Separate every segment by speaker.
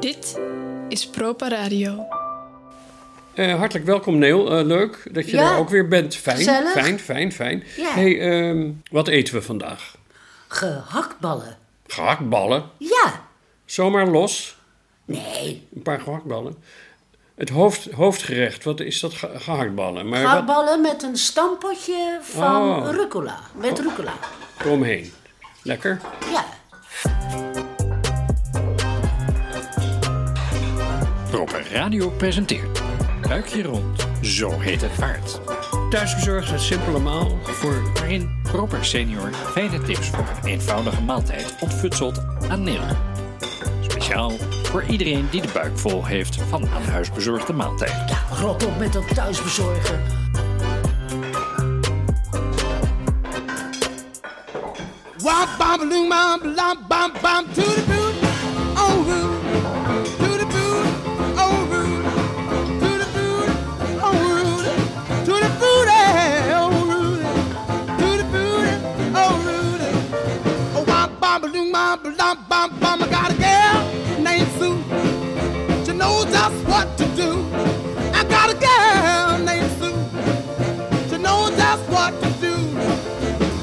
Speaker 1: Dit is Propa Radio.
Speaker 2: Eh, hartelijk welkom, Neel. Eh, leuk dat je
Speaker 3: Ja.
Speaker 2: er ook weer bent. Fijn,
Speaker 3: Gezellig.
Speaker 2: fijn, fijn, fijn.
Speaker 3: Ja.
Speaker 2: Hey, ehm, wat eten we vandaag?
Speaker 3: Gehaktballen.
Speaker 2: Gehaktballen.
Speaker 3: Ja.
Speaker 2: Zomaar los.
Speaker 3: Nee,
Speaker 2: Een paar gehaktballen. Het hoofd, hoofdgerecht, wat is dat? Ge- Gehaktballen. Maar Eh, wat
Speaker 3: gehaktballen met een stampotje van
Speaker 2: Oh.
Speaker 3: rucola. Met rucola.
Speaker 2: eromheen. Lekker.
Speaker 3: Ja.
Speaker 4: Proper Radio presenteert Buikje Rond, Zo Heet Het Vaart.
Speaker 2: Thuisbezorgd, een simpele maal.
Speaker 4: Voor waarin Proper Senior fijne tips voor een eenvoudige maaltijd ontfutselt aan Neil. Speciaal voor iedereen die de buik vol heeft van aan huis bezorgde maaltijd.
Speaker 3: Ja, rot op met dat thuisbezorgen.
Speaker 5: Wop bop loom bop lop bop bop to the boot, oh root, to the boot, oh root, to the boot, oh root, to the boot, eh, oh root, to the boot, oh root. Oh wop bop loom bop lop bop bop. I got a girl named Sue. She knows just what to do. I got a girl named Sue. She knows just what to do.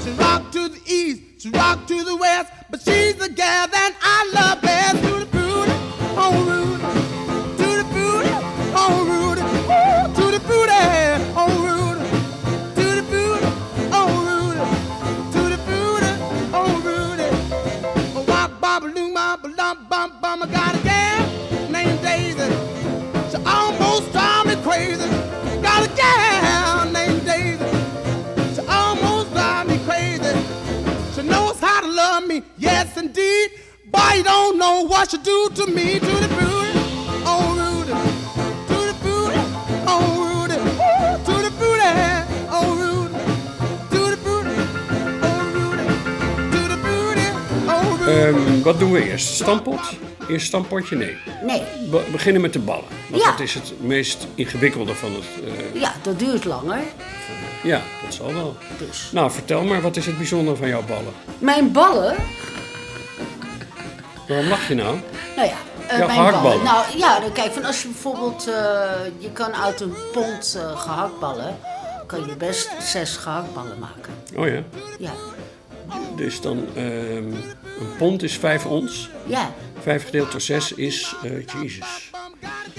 Speaker 5: She rock to the east, she rock to the west, but she's the gal that I love best. To the booty, oh Rudy, to the booty, oh Rudy, Ooh, to the booty, oh Rudy, to the booty, oh Rudy, to the booty, oh Rudy. Oh, wop, bop, loom, bop, lump, bump, bum. I got a gal named Daisy. She almost drives me crazy. Got a gal named Daisy. She almost drives me crazy. She knows how to love me, yes indeed. Boy, you don't know what she do to me. To the booty, oh Rudy. To the booty, oh Rudy. Ooh, To the booty, oh Rudy. To the booty, oh Rudy. To the booty, oh Rudy.
Speaker 2: Ehm, wat doen we eerst? Stampot? Eerst stampotje? Nee.
Speaker 3: Nee,
Speaker 2: We beginnen met de ballen. Want
Speaker 3: Ja.
Speaker 2: dat is het meest ingewikkelde van het... eh,
Speaker 3: ja, dat duurt langer.
Speaker 2: ja, dat zal wel.
Speaker 3: Dus.
Speaker 2: Nou, vertel maar, wat is het bijzondere van jouw ballen?
Speaker 3: Mijn ballen,
Speaker 2: Waarom lach je nou?
Speaker 3: nou ja, eh,
Speaker 2: Ja,
Speaker 3: mijn
Speaker 2: gehaktballen.
Speaker 3: ballen. Nou ja, dan kijk, van als je bijvoorbeeld, eh, je kan uit een pond eh, gehaktballen, kan je best zes gehaktballen maken.
Speaker 2: Oh ja.
Speaker 3: Ja,
Speaker 2: Dus dan, ehm, een pond is 5 ons.
Speaker 3: ja,
Speaker 2: 5 gedeeld door 6 is, eh jezus,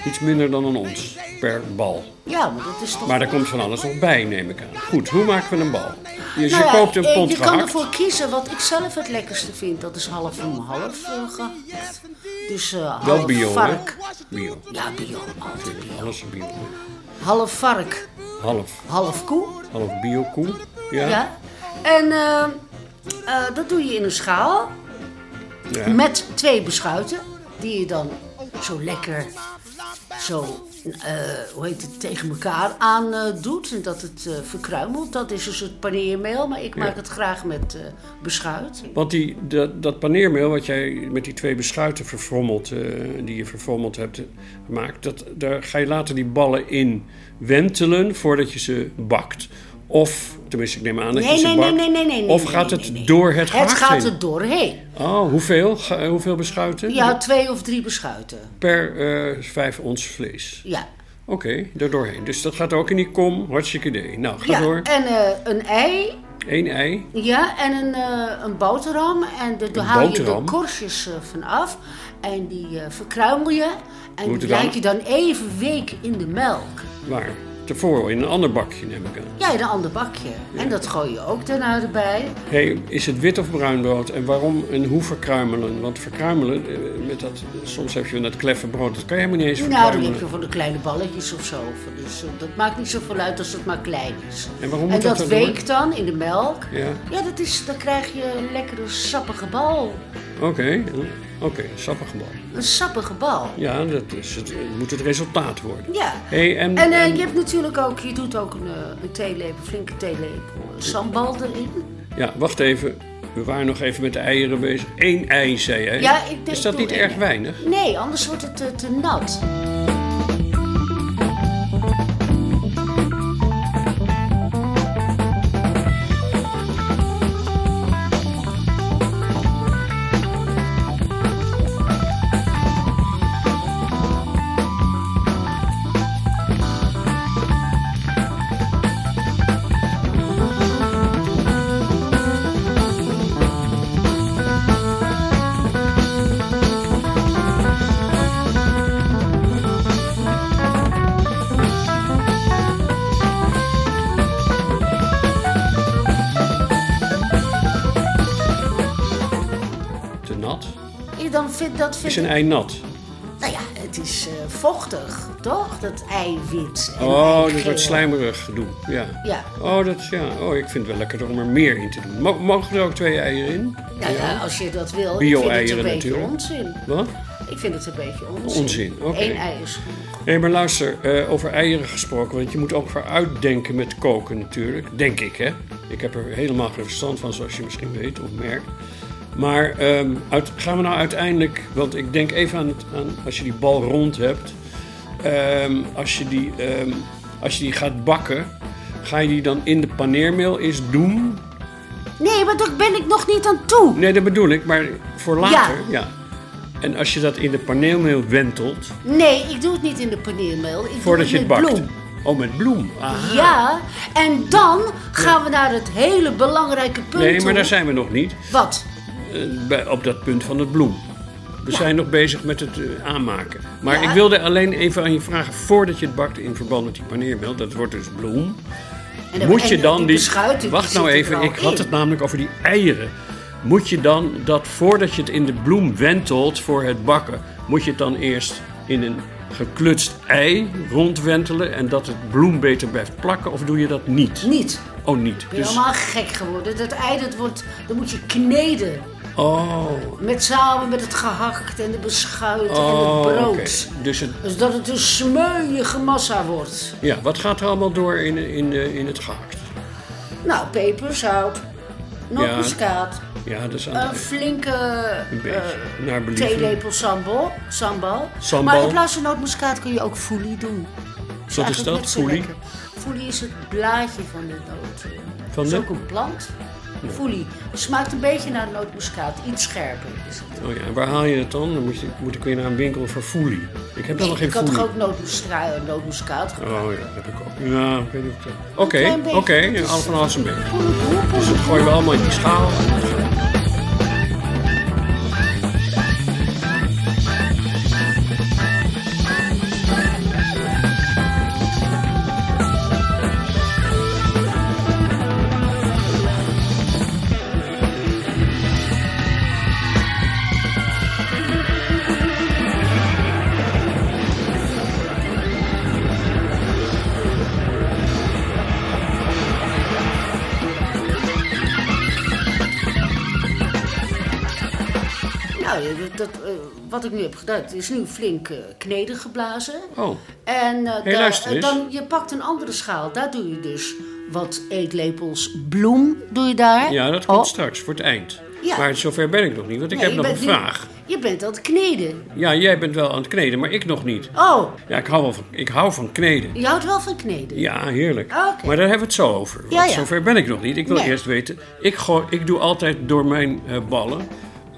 Speaker 2: iets minder dan een ons per bal.
Speaker 3: ja, maar dat is toch...
Speaker 2: Maar daar komt van alles nog bij, neem ik aan. Goed, hoe maken we een bal? Je, Dus je
Speaker 3: Nou ja,
Speaker 2: koopt een
Speaker 3: eh,
Speaker 2: pond
Speaker 3: Je kan
Speaker 2: gehakt.
Speaker 3: ervoor kiezen wat ik zelf het lekkerste vind. Dat is half om half eh, gehakt. Dus eh,
Speaker 2: Wel
Speaker 3: half
Speaker 2: bio, hè?
Speaker 3: vark.
Speaker 2: Bio.
Speaker 3: Ja, bio. Altijd bio.
Speaker 2: Alles een bio.
Speaker 3: Half vark,
Speaker 2: Half,
Speaker 3: half koe.
Speaker 2: half bio koe. Ja.
Speaker 3: Ja. En eh, eh, dat doe je in een schaal
Speaker 2: Ja.
Speaker 3: met twee beschuiten. Die je dan zo lekker zo, eh, hoe heet het, tegen elkaar aan eh, doet. En dat het eh, verkruimelt. Dat is dus het paneermeel. Maar ik maak het graag met eh, beschuit.
Speaker 2: Want die, dat, dat paneermeel wat jij met die twee beschuiten verfrommeld, eh, die je verfrommeld hebt eh, gemaakt, dat, daar ga je later die ballen in wentelen voordat je ze bakt. Of, tenminste, ik neem aan dat je
Speaker 3: Nee,
Speaker 2: ze
Speaker 3: nee, nee,
Speaker 2: bakt.
Speaker 3: nee, nee, nee. nee,
Speaker 2: Of
Speaker 3: nee,
Speaker 2: gaat
Speaker 3: nee,
Speaker 2: het
Speaker 3: nee, nee.
Speaker 2: door het gehakt
Speaker 3: Het gaat
Speaker 2: heen?
Speaker 3: er doorheen.
Speaker 2: Oh, hoeveel, Ga- eh, hoeveel beschuiten?
Speaker 3: Ja, twee of drie beschuiten.
Speaker 2: Per eh, vijf ons vlees.
Speaker 3: Ja.
Speaker 2: Oké, daar doorheen. Dus dat gaat ook in die kom. Hartstikke idee. Nou, ga
Speaker 3: ja.
Speaker 2: door.
Speaker 3: En eh, een ei.
Speaker 2: Eén ei.
Speaker 3: Ja, en een, eh, een boterham. En de- daar haal je de
Speaker 2: boterham?
Speaker 3: korstjes eh, van af. En die eh, verkruimel je. En
Speaker 2: Moeten
Speaker 3: die
Speaker 2: dan?
Speaker 3: laat je dan even week in de melk.
Speaker 2: Waar? Tevoren, in een ander bakje neem ik aan.
Speaker 3: Ja, in een ander bakje. En dat gooi je ook daarna erbij.
Speaker 2: Hey, is het wit of bruin brood? En waarom en hoe verkruimelen? Want verkruimelen, eh, met dat, soms heb je dat kleffe brood, dat kan je helemaal niet eens
Speaker 3: Nou, dan
Speaker 2: verkruimelen.
Speaker 3: heb je van de kleine balletjes of zo. Dus eh, dat maakt niet zoveel uit als het maar klein is.
Speaker 2: En waarom moet dat
Speaker 3: dat,
Speaker 2: dan
Speaker 3: weekt dan in de melk.
Speaker 2: Ja.
Speaker 3: dat is, dan krijg je een lekkere sappige bal.
Speaker 2: Oké, hm, oké, sappig bal.
Speaker 3: Een sappige bal.
Speaker 2: Ja, dat is het, het moet het resultaat worden.
Speaker 3: Ja.
Speaker 2: Hey, en,
Speaker 3: En eh,
Speaker 2: en-
Speaker 3: je hebt natuurlijk ook, je doet ook een, eh, een theelepel, flinke theelepel eh, sambal erin.
Speaker 2: Ja, wacht even. We waren nog even met de eieren bezig. Eén ei, zei jij.
Speaker 3: Ja, ik denk
Speaker 2: is dat
Speaker 3: doe
Speaker 2: niet
Speaker 3: één
Speaker 2: erg
Speaker 3: ei.
Speaker 2: weinig?
Speaker 3: Nee, anders wordt het eh, te nat.
Speaker 2: nat?
Speaker 3: Ja, dan vind, dat vind
Speaker 2: Is een
Speaker 3: ik...
Speaker 2: ei nat?
Speaker 3: Nou ja, het is eh, vochtig, toch? Dat eiwit. en
Speaker 2: Oh,
Speaker 3: eigeel.
Speaker 2: dat wordt slijmerig gedoe. Ja.
Speaker 3: Ja.
Speaker 2: Oh, dat, is- ja. oh, ik vind het wel lekkerder om er meer in te doen. Mo- mogen er ook twee eieren in?
Speaker 3: Nou ja, als je dat wil. ik vind het
Speaker 2: Bio-eieren
Speaker 3: een beetje
Speaker 2: natuurlijk.
Speaker 3: onzin.
Speaker 2: Wat?
Speaker 3: Ik vind het een beetje onzin.
Speaker 2: Onzin, oké.
Speaker 3: Eén ei is genoeg.
Speaker 2: Nee, maar luister, eh, over eieren gesproken. Want je moet ook uitdenken met koken natuurlijk. Denk ik, hè. Ik heb er helemaal geen verstand van, zoals je misschien weet of merkt. Maar ehm, uit- gaan we nou uiteindelijk... Want ik denk even aan, het, aan als je die bal rond hebt. ehm, als, je die, ehm, als je die gaat bakken, ga je die dan in de paneermeel eens doen...
Speaker 3: Nee, maar daar ben ik nog niet aan toe.
Speaker 2: Nee, dat bedoel ik, maar voor later, ja.
Speaker 3: Ja.
Speaker 2: En als je dat in de paneelmeel wentelt,
Speaker 3: Nee, ik doe het niet in de paneermeel. Ik
Speaker 2: voordat je het
Speaker 3: doe het
Speaker 2: bakt.
Speaker 3: met bloem.
Speaker 2: Oh, met bloem. Ah.
Speaker 3: Ja, en dan gaan we naar het hele belangrijke punt
Speaker 2: Nee, maar
Speaker 3: toe.
Speaker 2: daar zijn we nog niet.
Speaker 3: Wat?
Speaker 2: eh, bij- op dat punt van de bloem. We zijn nog bezig met het eh, aanmaken. Maar
Speaker 3: Ja.
Speaker 2: ik wilde alleen even aan je vragen, voordat je het bakt in verband met die paneermeel, dat wordt dus bloem.
Speaker 3: En dan-
Speaker 2: Moet je
Speaker 3: en
Speaker 2: dan die.
Speaker 3: beschuit, die
Speaker 2: wacht
Speaker 3: zit
Speaker 2: nou
Speaker 3: er
Speaker 2: even,
Speaker 3: al
Speaker 2: ik had
Speaker 3: in.
Speaker 2: het namelijk over die eieren. Moet je dan dat voordat je het in de bloem wentelt voor het bakken, moet je het dan eerst in een geklutst ei rondwentelen en dat het bloem beter blijft plakken? Of doe je dat niet?
Speaker 3: Niet.
Speaker 2: Oh, niet.
Speaker 3: Ik ben helemaal gek geworden. Dat ei, dat wordt, dat moet je kneden.
Speaker 2: oh,
Speaker 3: Met samen met het gehakt en de beschuit
Speaker 2: oh,
Speaker 3: en het brood.
Speaker 2: oké. Dus het,
Speaker 3: Dus dat het een smeuïge massa wordt.
Speaker 2: ja, wat gaat er allemaal door in, in, eh, in het gehakt?
Speaker 3: Nou, peper, zout, nootmuskaat,
Speaker 2: Ja, dat is aan
Speaker 3: een
Speaker 2: het ei.
Speaker 3: flinke
Speaker 2: Een beetje.
Speaker 3: eh,
Speaker 2: Naar believen.
Speaker 3: theelepel sambal, sambal.
Speaker 2: Sambal.
Speaker 3: Maar in plaats van nootmuskaat kun je ook foelie doen.
Speaker 2: Wat is
Speaker 3: eigenlijk
Speaker 2: dat?
Speaker 3: net zo
Speaker 2: Foelie?
Speaker 3: lekker. Foelie is het blaadje van de noot.
Speaker 2: Van
Speaker 3: dat
Speaker 2: de?
Speaker 3: is ook een plant. Foelie. Het smaakt een beetje naar nootmuskaat. Iets scherper is het.
Speaker 2: Oh ja, en waar haal je het dan? Dan moet, je, moet ik weer naar een winkel voor foelie. Ik heb daar nog geen
Speaker 3: ik had toch
Speaker 2: foelie.
Speaker 3: ook nootmuskaat, nootmuskaat gebruikt?
Speaker 2: Oh ja, dat heb ik ook. Ja, ik weet niet of ik dat- Oké,
Speaker 3: klein
Speaker 2: oké,
Speaker 3: beetje.
Speaker 2: ja,
Speaker 3: Het is-
Speaker 2: alles van alles een beetje.
Speaker 3: Poelie, poelie, poelie.
Speaker 2: Gooien we allemaal in die schaal.
Speaker 3: Nou, ja, dat, dat, eh, wat ik nu heb gedaan, het is nu flink eh, kneden geblazen.
Speaker 2: Oh,
Speaker 3: En eh,
Speaker 2: Hey,
Speaker 3: daar-
Speaker 2: luister eens.
Speaker 3: dan, je pakt een andere schaal. Daar doe je dus wat eetlepels bloem, doe je daar.
Speaker 2: ja, dat komt
Speaker 3: Oh,
Speaker 2: straks, voor het eind.
Speaker 3: Ja.
Speaker 2: Maar zover ben ik nog niet, want ik
Speaker 3: nee,
Speaker 2: heb
Speaker 3: je
Speaker 2: nog een
Speaker 3: bent nu-
Speaker 2: vraag.
Speaker 3: je bent aan het kneden.
Speaker 2: Ja, jij bent wel aan het kneden, maar ik nog niet.
Speaker 3: Oh,
Speaker 2: Ja, ik hou, wel van, ik hou van kneden.
Speaker 3: je houdt wel van kneden.
Speaker 2: Ja, heerlijk.
Speaker 3: Ah, oké.
Speaker 2: Maar daar hebben we het zo over. Want
Speaker 3: Ja, ja.
Speaker 2: Zover ben ik nog niet. Ik wil
Speaker 3: Nee.
Speaker 2: eerst weten. Ik, gooi, ik doe altijd door mijn eh, ballen,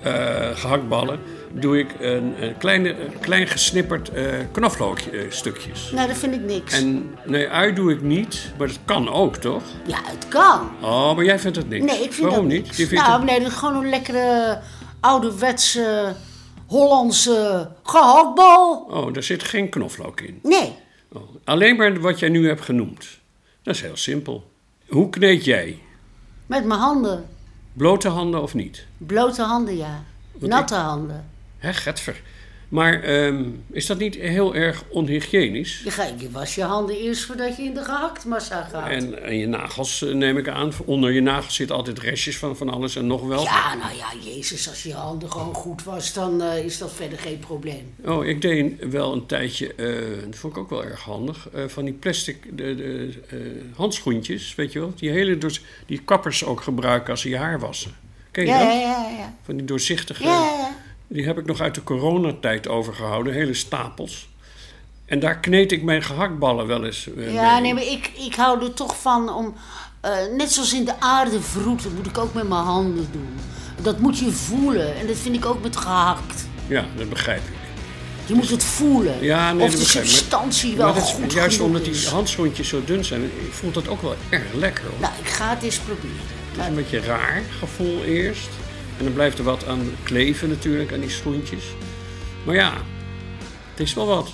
Speaker 2: eh, gehaktballen, doe ik een, eh, kleine, een klein gesnipperd eh knoflookstukjes.
Speaker 3: Nou, dat vind ik niks.
Speaker 2: En nee, ui doe ik niet, maar dat kan ook, toch?
Speaker 3: Ja, het kan.
Speaker 2: Oh, maar jij vindt het niks.
Speaker 3: Nee, ik vind
Speaker 2: Waarom
Speaker 3: dat
Speaker 2: niet?
Speaker 3: niks.
Speaker 2: Je vindt
Speaker 3: nou,
Speaker 2: het-
Speaker 3: nee, dat is gewoon een lekkere ouderwetse Hollandse gehaktbal.
Speaker 2: Oh, daar zit geen knoflook in.
Speaker 3: Nee,
Speaker 2: Oh, Alleen maar wat jij nu hebt genoemd. Dat is heel simpel. Hoe kneed jij?
Speaker 3: met mijn handen.
Speaker 2: Blote handen of niet?
Speaker 3: Blote handen, ja. Natte handen.
Speaker 2: Hè, getver. Maar ehm, is dat niet heel erg onhygiënisch?
Speaker 3: Je, ga, je was je handen eerst voordat je in de gehaktmassa gaat.
Speaker 2: En, en je nagels eh, neem ik aan. Onder je nagels zitten altijd restjes van van alles en nog wel.
Speaker 3: Ja, nou ja, Jezus, als je handen gewoon goed was, dan eh, is dat verder geen probleem.
Speaker 2: Oh, ik deed wel een tijdje, eh, dat vond ik ook wel erg handig, eh, van die plastic de, de, eh, handschoentjes, weet je wel? Die hele, doors- die kappers ook gebruiken als ze je haar wassen. Ken je
Speaker 3: Ja, ja,
Speaker 2: dat? Eh,
Speaker 3: ja, ja.
Speaker 2: Van die doorzichtige...
Speaker 3: Ja, ja, ja.
Speaker 2: Die heb ik nog uit de coronatijd overgehouden, hele stapels. En daar kneed ik mijn gehaktballen wel eens eh,
Speaker 3: Ja,
Speaker 2: mee.
Speaker 3: nee, maar ik, ik hou er toch van om... eh, net zoals in de aarde vroeten, moet ik ook met mijn handen doen. Dat moet je voelen. En dat vind ik ook met gehakt.
Speaker 2: Ja, dat begrijp ik.
Speaker 3: Je moet het voelen.
Speaker 2: Ja, nee,
Speaker 3: of
Speaker 2: dat
Speaker 3: de
Speaker 2: begrijp ik.
Speaker 3: substantie
Speaker 2: Maar
Speaker 3: wel
Speaker 2: dat is
Speaker 3: goed
Speaker 2: juist
Speaker 3: genoeg
Speaker 2: omdat die
Speaker 3: is.
Speaker 2: handschoentjes zo dun zijn, voelt dat ook wel erg lekker. Hoor.
Speaker 3: Nou, ik ga het eens proberen.
Speaker 2: Het is een beetje raar gevoel eerst. En dan blijft er wat aan kleven natuurlijk, aan die schoentjes. Maar ja, het is wel wat.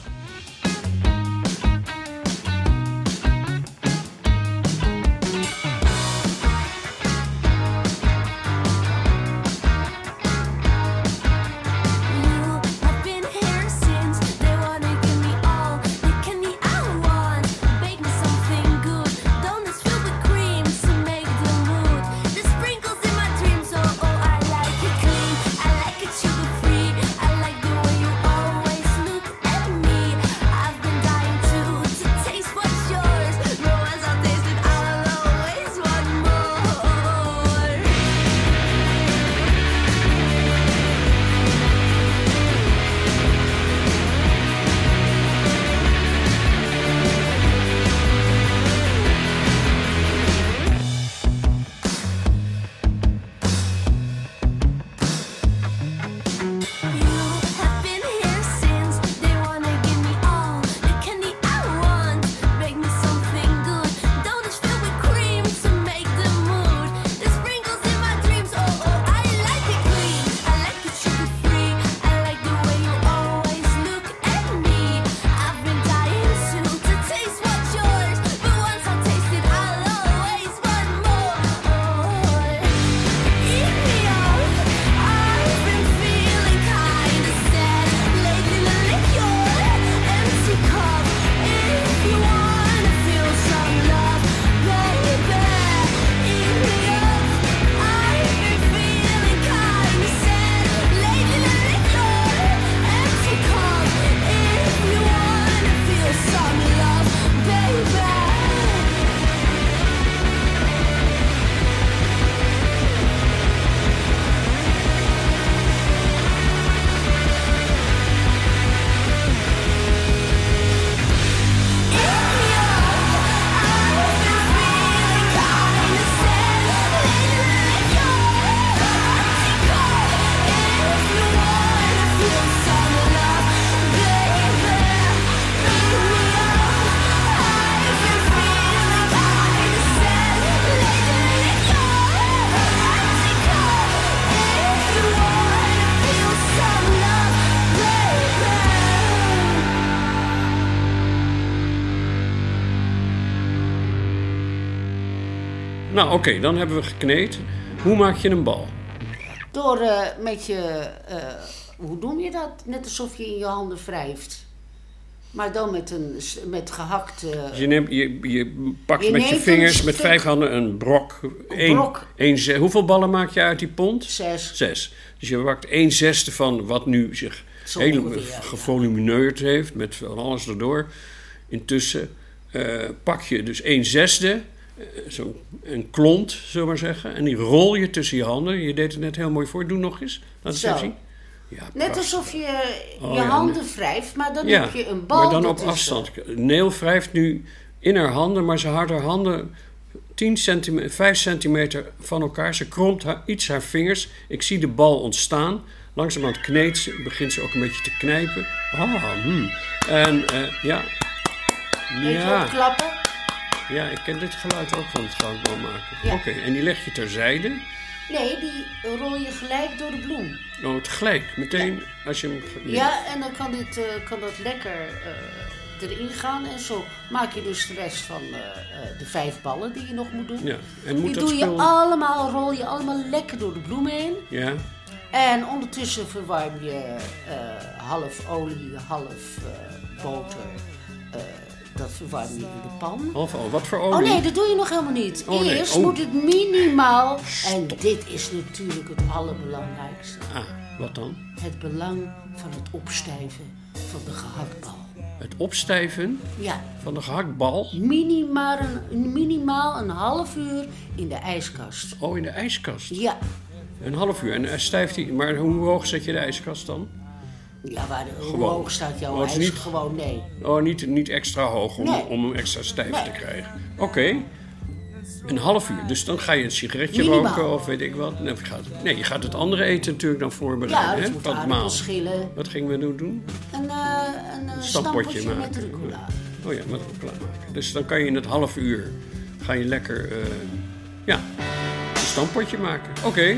Speaker 2: Nou, oké, dan hebben we gekneed. Hoe maak je een bal?
Speaker 3: Door eh, met je, eh, hoe noem je dat? Net alsof je in je handen wrijft. Maar dan met, een, s- met gehakt. eh,
Speaker 2: Je, neemt, je, je pakt
Speaker 3: Je
Speaker 2: met je
Speaker 3: neemt
Speaker 2: vingers,
Speaker 3: een
Speaker 2: met
Speaker 3: stuk-
Speaker 2: vijf handen, een brok. Eén,
Speaker 3: brok.
Speaker 2: één ze- hoeveel ballen maak je uit die pond?
Speaker 3: Zes.
Speaker 2: Zes. Dus je pakt één zesde van wat nu zich
Speaker 3: Zo
Speaker 2: heel
Speaker 3: ongeveer, ja.
Speaker 2: gevolumineerd heeft, met van alles erdoor. Intussen eh, pak je dus één zesde, eh, zo'n een klont, zullen we maar zeggen. En die rol je tussen je handen. Je deed het net heel mooi voor. Doe nog eens. Laat het
Speaker 3: Zo.
Speaker 2: even zien. Ja,
Speaker 3: Net
Speaker 2: prachtig.
Speaker 3: alsof je
Speaker 2: Oh,
Speaker 3: je
Speaker 2: ja,
Speaker 3: handen wrijft, maar dan heb je een bal.
Speaker 2: maar dan op
Speaker 3: ertussen.
Speaker 2: afstand. Neel wrijft nu in haar handen, maar ze houdt haar handen 10 centimeter, 5 centimeter van elkaar. Ze kromt haar, iets haar vingers. Ik zie de bal ontstaan. Langzaam aan het kneedt ze, begint ze ook een beetje te knijpen. Ah, hmm. En eh, ja.
Speaker 3: eh, Weet je
Speaker 2: Ja,
Speaker 3: wat klappen?
Speaker 2: ja, ik ken dit geluid ook van het goud wel maken.
Speaker 3: Ja.
Speaker 2: Oké, en die leg je terzijde.
Speaker 3: Nee, die rol je gelijk door de bloem.
Speaker 2: Oh, tegelijk. Meteen als je hem...
Speaker 3: Ja, en dan kan, dit, eh, kan dat lekker eh, erin gaan en zo maak je dus de rest van eh, eh, de vijf ballen die je nog moet doen.
Speaker 2: Ja, en moet
Speaker 3: die
Speaker 2: dat
Speaker 3: doe
Speaker 2: spel-
Speaker 3: je allemaal, rol je allemaal lekker door de bloemen heen.
Speaker 2: Ja.
Speaker 3: En ondertussen verwarm je eh, half olie, half eh, boter. Eh, dat verwarm je in de pan.
Speaker 2: Half al. Wat voor
Speaker 3: Oh
Speaker 2: olie?
Speaker 3: nee, dat doe je nog helemaal niet.
Speaker 2: Oh, nee.
Speaker 3: Eerst
Speaker 2: Oh.
Speaker 3: moet het minimaal. En dit is natuurlijk het allerbelangrijkste.
Speaker 2: Ah, wat dan?
Speaker 3: Het belang van het opstijven van de gehaktbal.
Speaker 2: Het opstijven
Speaker 3: Ja,
Speaker 2: van de gehaktbal.
Speaker 3: minimaal een, minimaal een half uur in de ijskast.
Speaker 2: Oh, in de ijskast.
Speaker 3: Ja,
Speaker 2: Een half uur. En eh, stijft die. Maar hoe hoog zet je de ijskast dan?
Speaker 3: ja waar, hoe
Speaker 2: Gewoon.
Speaker 3: hoog staat jouw
Speaker 2: Want
Speaker 3: ijs?
Speaker 2: het is niet-
Speaker 3: Gewoon nee.
Speaker 2: Oh, niet, niet extra hoog om,
Speaker 3: Nee.
Speaker 2: om hem extra stijf
Speaker 3: Nee.
Speaker 2: te krijgen. Oké. Een half uur. Dus dan ga je een sigaretje
Speaker 3: Minimaal.
Speaker 2: roken of weet ik wat. Nee, je gaat, nee, je gaat het andere eten natuurlijk dan voorbereiden.
Speaker 3: Ja, dat
Speaker 2: hè?
Speaker 3: moet
Speaker 2: Dat maal.
Speaker 3: aardappels schillen.
Speaker 2: Wat gingen we nu doen?
Speaker 3: Een, eh een
Speaker 2: Stampotje
Speaker 3: eh, stampotje met
Speaker 2: maken.
Speaker 3: rucola.
Speaker 2: Oh ja, met klaarmaken. Dus dan kan je in het half uur ga je lekker eh, ja, een stampotje maken. Oké.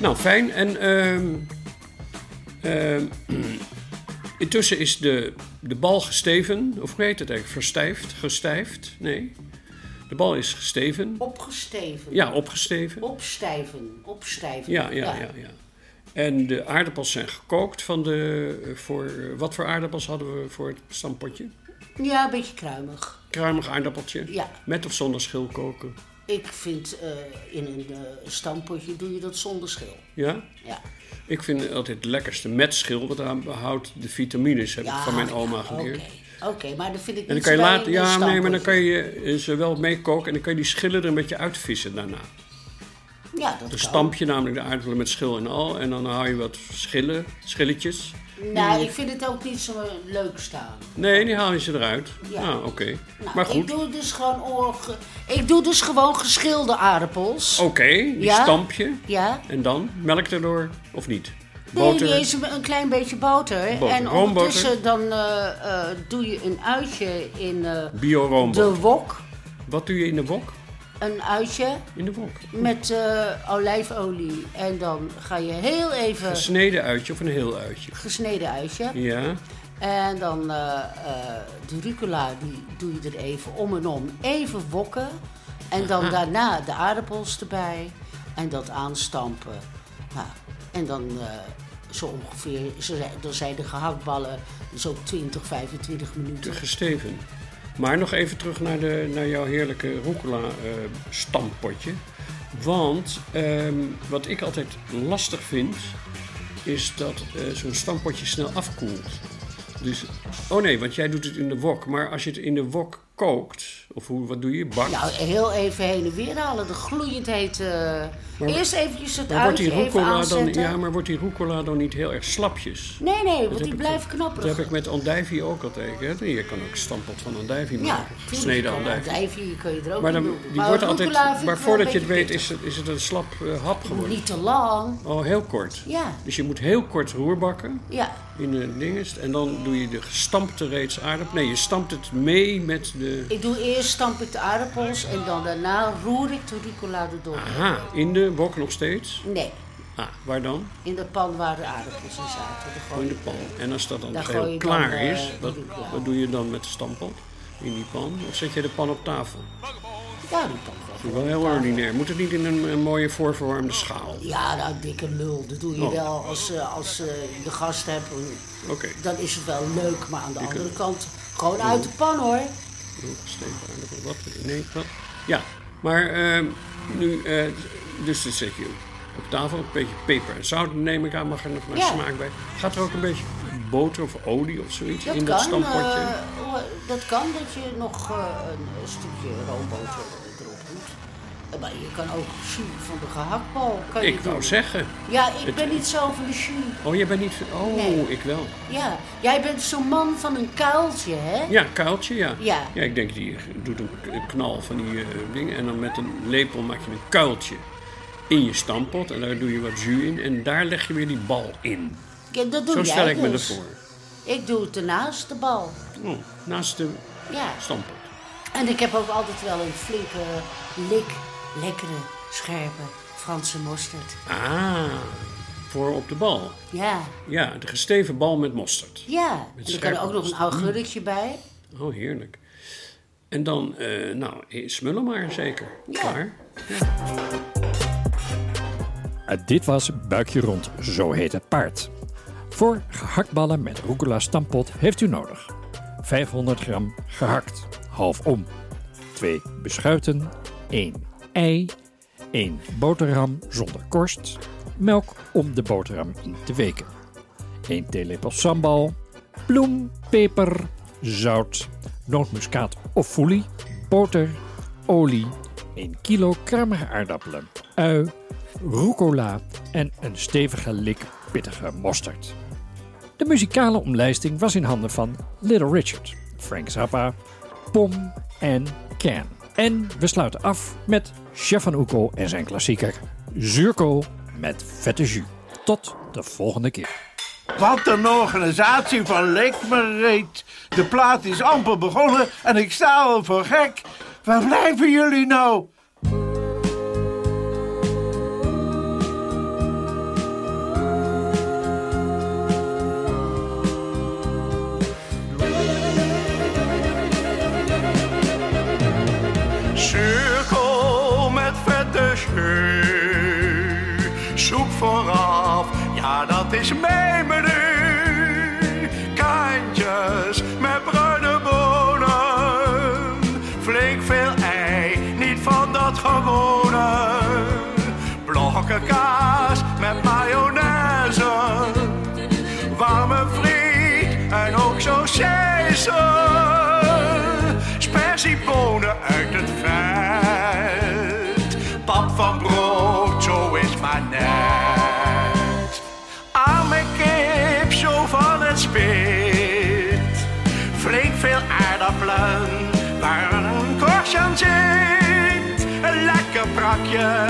Speaker 2: Nou, fijn. En ehm, ehm, intussen is de, de bal gesteven. Of hoe heet het eigenlijk? Verstijfd? Gestijfd? Nee. De bal is gesteven.
Speaker 3: Opgesteven.
Speaker 2: Ja, opgesteven.
Speaker 3: Opstijven. Opstijven.
Speaker 2: Ja, ja, ja. ja. En de aardappels zijn gekookt van de... eh, Voor, eh, wat voor aardappels hadden we voor het stampotje?
Speaker 3: Ja, een beetje kruimig.
Speaker 2: Kruimig aardappeltje.
Speaker 3: Ja.
Speaker 2: Met of zonder schil koken.
Speaker 3: Ik vind eh, in een eh, stampotje doe je dat zonder schil.
Speaker 2: Ja?
Speaker 3: Ja.
Speaker 2: Ik vind altijd het lekkerste met schil, want daar houdt de vitamines, heb ik
Speaker 3: Ja,
Speaker 2: van mijn
Speaker 3: ja,
Speaker 2: oma geleerd.
Speaker 3: oké. Oké, maar dat vind ik niet
Speaker 2: En dan kan je
Speaker 3: zo bij
Speaker 2: later,
Speaker 3: een
Speaker 2: ja, nee, maar dan
Speaker 3: stamppotje.
Speaker 2: kan je eh, ze wel meekoken en dan kan je die schillen er een beetje uitvissen daarna.
Speaker 3: Ja, dat
Speaker 2: Dan
Speaker 3: kan.
Speaker 2: stamp je namelijk de aardappelen met schil en al en dan haal je wat schillen, schilletjes.
Speaker 3: Nou, ik vind het ook niet zo leuk staan.
Speaker 2: Nee, die haal je ze eruit.
Speaker 3: Ja.
Speaker 2: Nou, oké.
Speaker 3: Nou,
Speaker 2: Maar goed,
Speaker 3: Ik doe dus gewoon, oorge- ik doe dus gewoon geschilde aardappels.
Speaker 2: oké, die
Speaker 3: Ja?
Speaker 2: stamp je.
Speaker 3: Ja.
Speaker 2: En dan? Melk erdoor of niet?
Speaker 3: Nee, niet
Speaker 2: Boter?
Speaker 3: eens een, een klein beetje boter.
Speaker 2: Boter,
Speaker 3: En
Speaker 2: roomboter.
Speaker 3: ondertussen dan eh, eh, doe je een uitje in eh, de
Speaker 2: Bio-roomboter.
Speaker 3: wok.
Speaker 2: Wat doe je in de wok?
Speaker 3: Een uitje
Speaker 2: In de wok.
Speaker 3: met eh, olijfolie. En dan ga je heel even
Speaker 2: Een snede uitje of een heel uitje?
Speaker 3: gesneden uitje.
Speaker 2: Ja.
Speaker 3: En dan eh, eh, de rucola, die doe je er even om en om. Even wokken. En dan daarna de aardappels erbij. En dat aanstampen. Nou, en dan eh, zo ongeveer, zo zijn- dan zijn de gehaktballen zo 20, 25 minuten.
Speaker 2: Gesteven. Maar nog even terug naar, de, naar jouw heerlijke rucola-stampotje. Want ehm, wat ik altijd lastig vind, is dat eh, zo'n stampotje snel afkoelt. Dus, oh nee, want jij doet het in de wok. Maar als je het in de wok kookt, of hoe, wat doe je? Bakt?
Speaker 3: Nou, heel even heen en weer halen. De gloeiend hete...
Speaker 2: Maar-
Speaker 3: Eerst eventjes het
Speaker 2: maar, wordt
Speaker 3: uitje
Speaker 2: die
Speaker 3: even
Speaker 2: rucola dan,
Speaker 3: aanzetten.
Speaker 2: ja, maar wordt die rucola dan niet heel erg slapjes?
Speaker 3: Nee, nee, want
Speaker 2: heb
Speaker 3: die
Speaker 2: ik-
Speaker 3: blijft
Speaker 2: Dat
Speaker 3: knapperig.
Speaker 2: heb ik met andijvie ook altijd. Hè? Je kan ook stampot van andijvie
Speaker 3: Ja,
Speaker 2: maken.
Speaker 3: tuurlijk.
Speaker 2: Gesneden
Speaker 3: Ja,
Speaker 2: andijvie.
Speaker 3: Andijvie kun je er ook
Speaker 2: Maar, dan,
Speaker 3: in doen.
Speaker 2: die wordt altijd,
Speaker 3: rucola vind ik
Speaker 2: maar
Speaker 3: wel
Speaker 2: voordat
Speaker 3: een
Speaker 2: je het
Speaker 3: beetje
Speaker 2: weet is het, is het een slap eh, hap
Speaker 3: pittig.
Speaker 2: geworden.
Speaker 3: Niet te lang.
Speaker 2: Oh, heel kort.
Speaker 3: Ja.
Speaker 2: Dus je moet heel kort roerbakken
Speaker 3: Ja,
Speaker 2: in de dinges. En dan doe je de gestampte reeds aardappel. Nee, je stampt het mee met de...
Speaker 3: ik doe eerst stamp ik de aardappels en dan daarna roer ik de rucola erdoor.
Speaker 2: Aha, in de wok nog steeds.
Speaker 3: Nee,
Speaker 2: Ah, waar dan?
Speaker 3: in de pan waar de aardappels in zaten. Dan
Speaker 2: Oh,
Speaker 3: gooi
Speaker 2: in de
Speaker 3: ik-
Speaker 2: pan. En als dat dan,
Speaker 3: Daar gooi
Speaker 2: heel
Speaker 3: je
Speaker 2: klaar
Speaker 3: dan, eh,
Speaker 2: is,
Speaker 3: de
Speaker 2: wat,
Speaker 3: rucola.
Speaker 2: wat doe je dan met de stamppot? In die pan? Of zet je de pan op tafel?
Speaker 3: Ja, die pan wel.
Speaker 2: Dat is wel heel ordinair. Moet het niet in een, een mooie voorverwarmde schaal?
Speaker 3: Ja, nou, dikke lul. Dat doe je
Speaker 2: Oh.
Speaker 3: wel als, eh, als eh, je de gast hebt.
Speaker 2: Oké,
Speaker 3: Dan is het wel leuk, maar aan de andere kant gewoon uit
Speaker 2: Mm.
Speaker 3: de pan hoor.
Speaker 2: Steven aardappel, wat? Nee, wat? Ja, maar ehm, nu, eh, dus dat zet je op tafel. Een beetje peper en zout neem ik aan, mag er nog maar
Speaker 3: Ja.
Speaker 2: smaak bij. Gaat er ook een beetje boter of olie of zoiets
Speaker 3: Dat
Speaker 2: in
Speaker 3: kan.
Speaker 2: dat stampotje?
Speaker 3: eh, hoe- dat kan dat je nog eh, een stukje roomboter erop doet. Eh, Maar je kan ook jus van de gehaktbal. Kan je
Speaker 2: ik wou
Speaker 3: doen.
Speaker 2: zeggen.
Speaker 3: Ja, ik
Speaker 2: Het-
Speaker 3: ben niet zo van de jus.
Speaker 2: Oh, jij bent niet... Oh,
Speaker 3: Nee.
Speaker 2: ik wel.
Speaker 3: Ja, jij bent zo'n man van een kuiltje, hè?
Speaker 2: Ja, kuiltje, ja.
Speaker 3: Ja.
Speaker 2: ik denk die doet een k- een knal van die eh dingen. En dan met een lepel maak je een kuiltje in je stampot. En daar doe je wat jus in. En daar leg je weer die bal in.
Speaker 3: Ja, dat doe
Speaker 2: Zo
Speaker 3: jij
Speaker 2: stel ik me
Speaker 3: dus.
Speaker 2: ervoor.
Speaker 3: Ik doe het ernaast, de bal.
Speaker 2: Oh, naast de
Speaker 3: Ja.
Speaker 2: stampot.
Speaker 3: En ik heb ook altijd wel een flinke lik, lekkere, scherpe Franse mosterd.
Speaker 2: Ah, voor op de bal.
Speaker 3: Ja,
Speaker 2: Ja, de gesteven bal met mosterd.
Speaker 3: ja. En er kan
Speaker 2: scherpe
Speaker 3: er ook nog een augurkje bij.
Speaker 2: Oh, heerlijk. En dan, eh, nou, eh, smullen maar zeker.
Speaker 3: Ja.
Speaker 2: Klaar.
Speaker 4: Eh, Dit was Buikje Rond, zo heet het paard. Voor gehaktballen met rucola stampot heeft u nodig 500 gram gehakt, half om. 2 beschuiten, 1 ei, 1 boterham zonder korst, melk om de boterham in te weken. 1 theelepel sambal, bloem, peper, zout, nootmuskaat of foelie, boter, olie, 1 kilo kruimige aardappelen, ui, rucola en een stevige lik pittige mosterd. De muzikale omlijsting was in handen van Little Richard, Frank Zappa, Pom en Can. En we sluiten af met Chef van Oekel en zijn klassieker Zuurkool met vette jus. Tot de volgende keer.
Speaker 6: Wat een organisatie van lek me reet. De plaat is amper begonnen en ik sta al voor gek. Waar blijven jullie nou?
Speaker 7: Cirkel met vette scheu. Zoek vooraf, ja dat is mijn menu. Kantjes met bruine bonen. Flink veel ei, niet van dat gewone. Blokken kaas met mayonaise. Warme friet en ook zo seizoen. van brood, zo is maar net. Arme kip, zo van het spit. Flink veel aardappelen, waar een korstje aan zit. Een lekker brakje,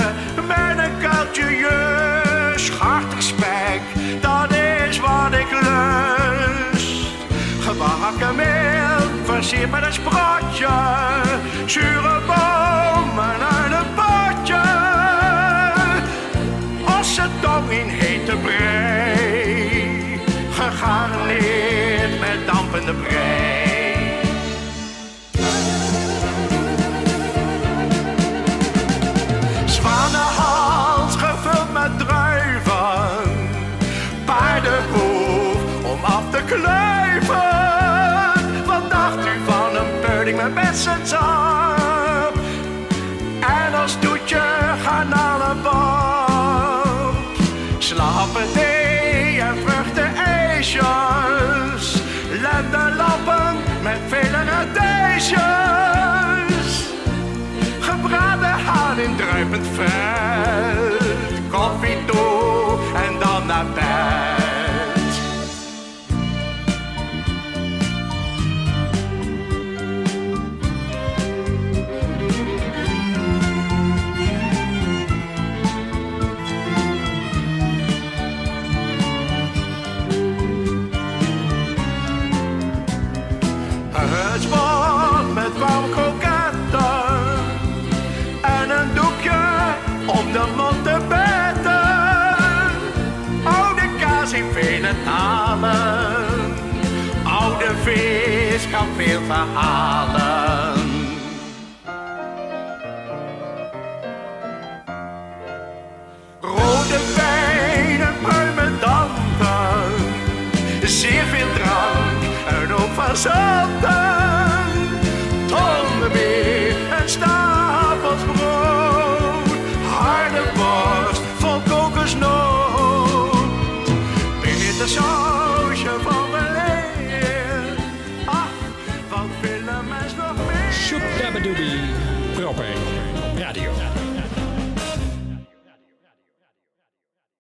Speaker 7: met een kuiltje jus. Hartig spek, dat is wat ik lust. Gebakken meel, versierd met een sprotje. Zure bomen uit een potje. Ossentong in hete brei. Gegarneerd met dampende brei. Zwanenhals gevuld met druiven. Paardenhoef om af te kluiven. Wat dacht u van een pudding met bessensap? En als toetje garnalenbap. Slappe thee en vruchtenijsjes. Lenderlappen met vele radijsjes gebraden haan in druipend vet. Koffie toe en dan naar bed. Het spot met warm kroketten en een doekje om de mond te betten. Oude kaas in vele talen, oude vis kan veel verhalen. Rode wijn en pruimendanten. Zeer veel drank en ook van zanten. Tondenbeer en stapelsbrood. Harde worst vol kokosnoot. Bittersausje van de leer. Ach, wat willen mensen nog meer?
Speaker 4: Sjoep Dabadoobie. Proper. Radio.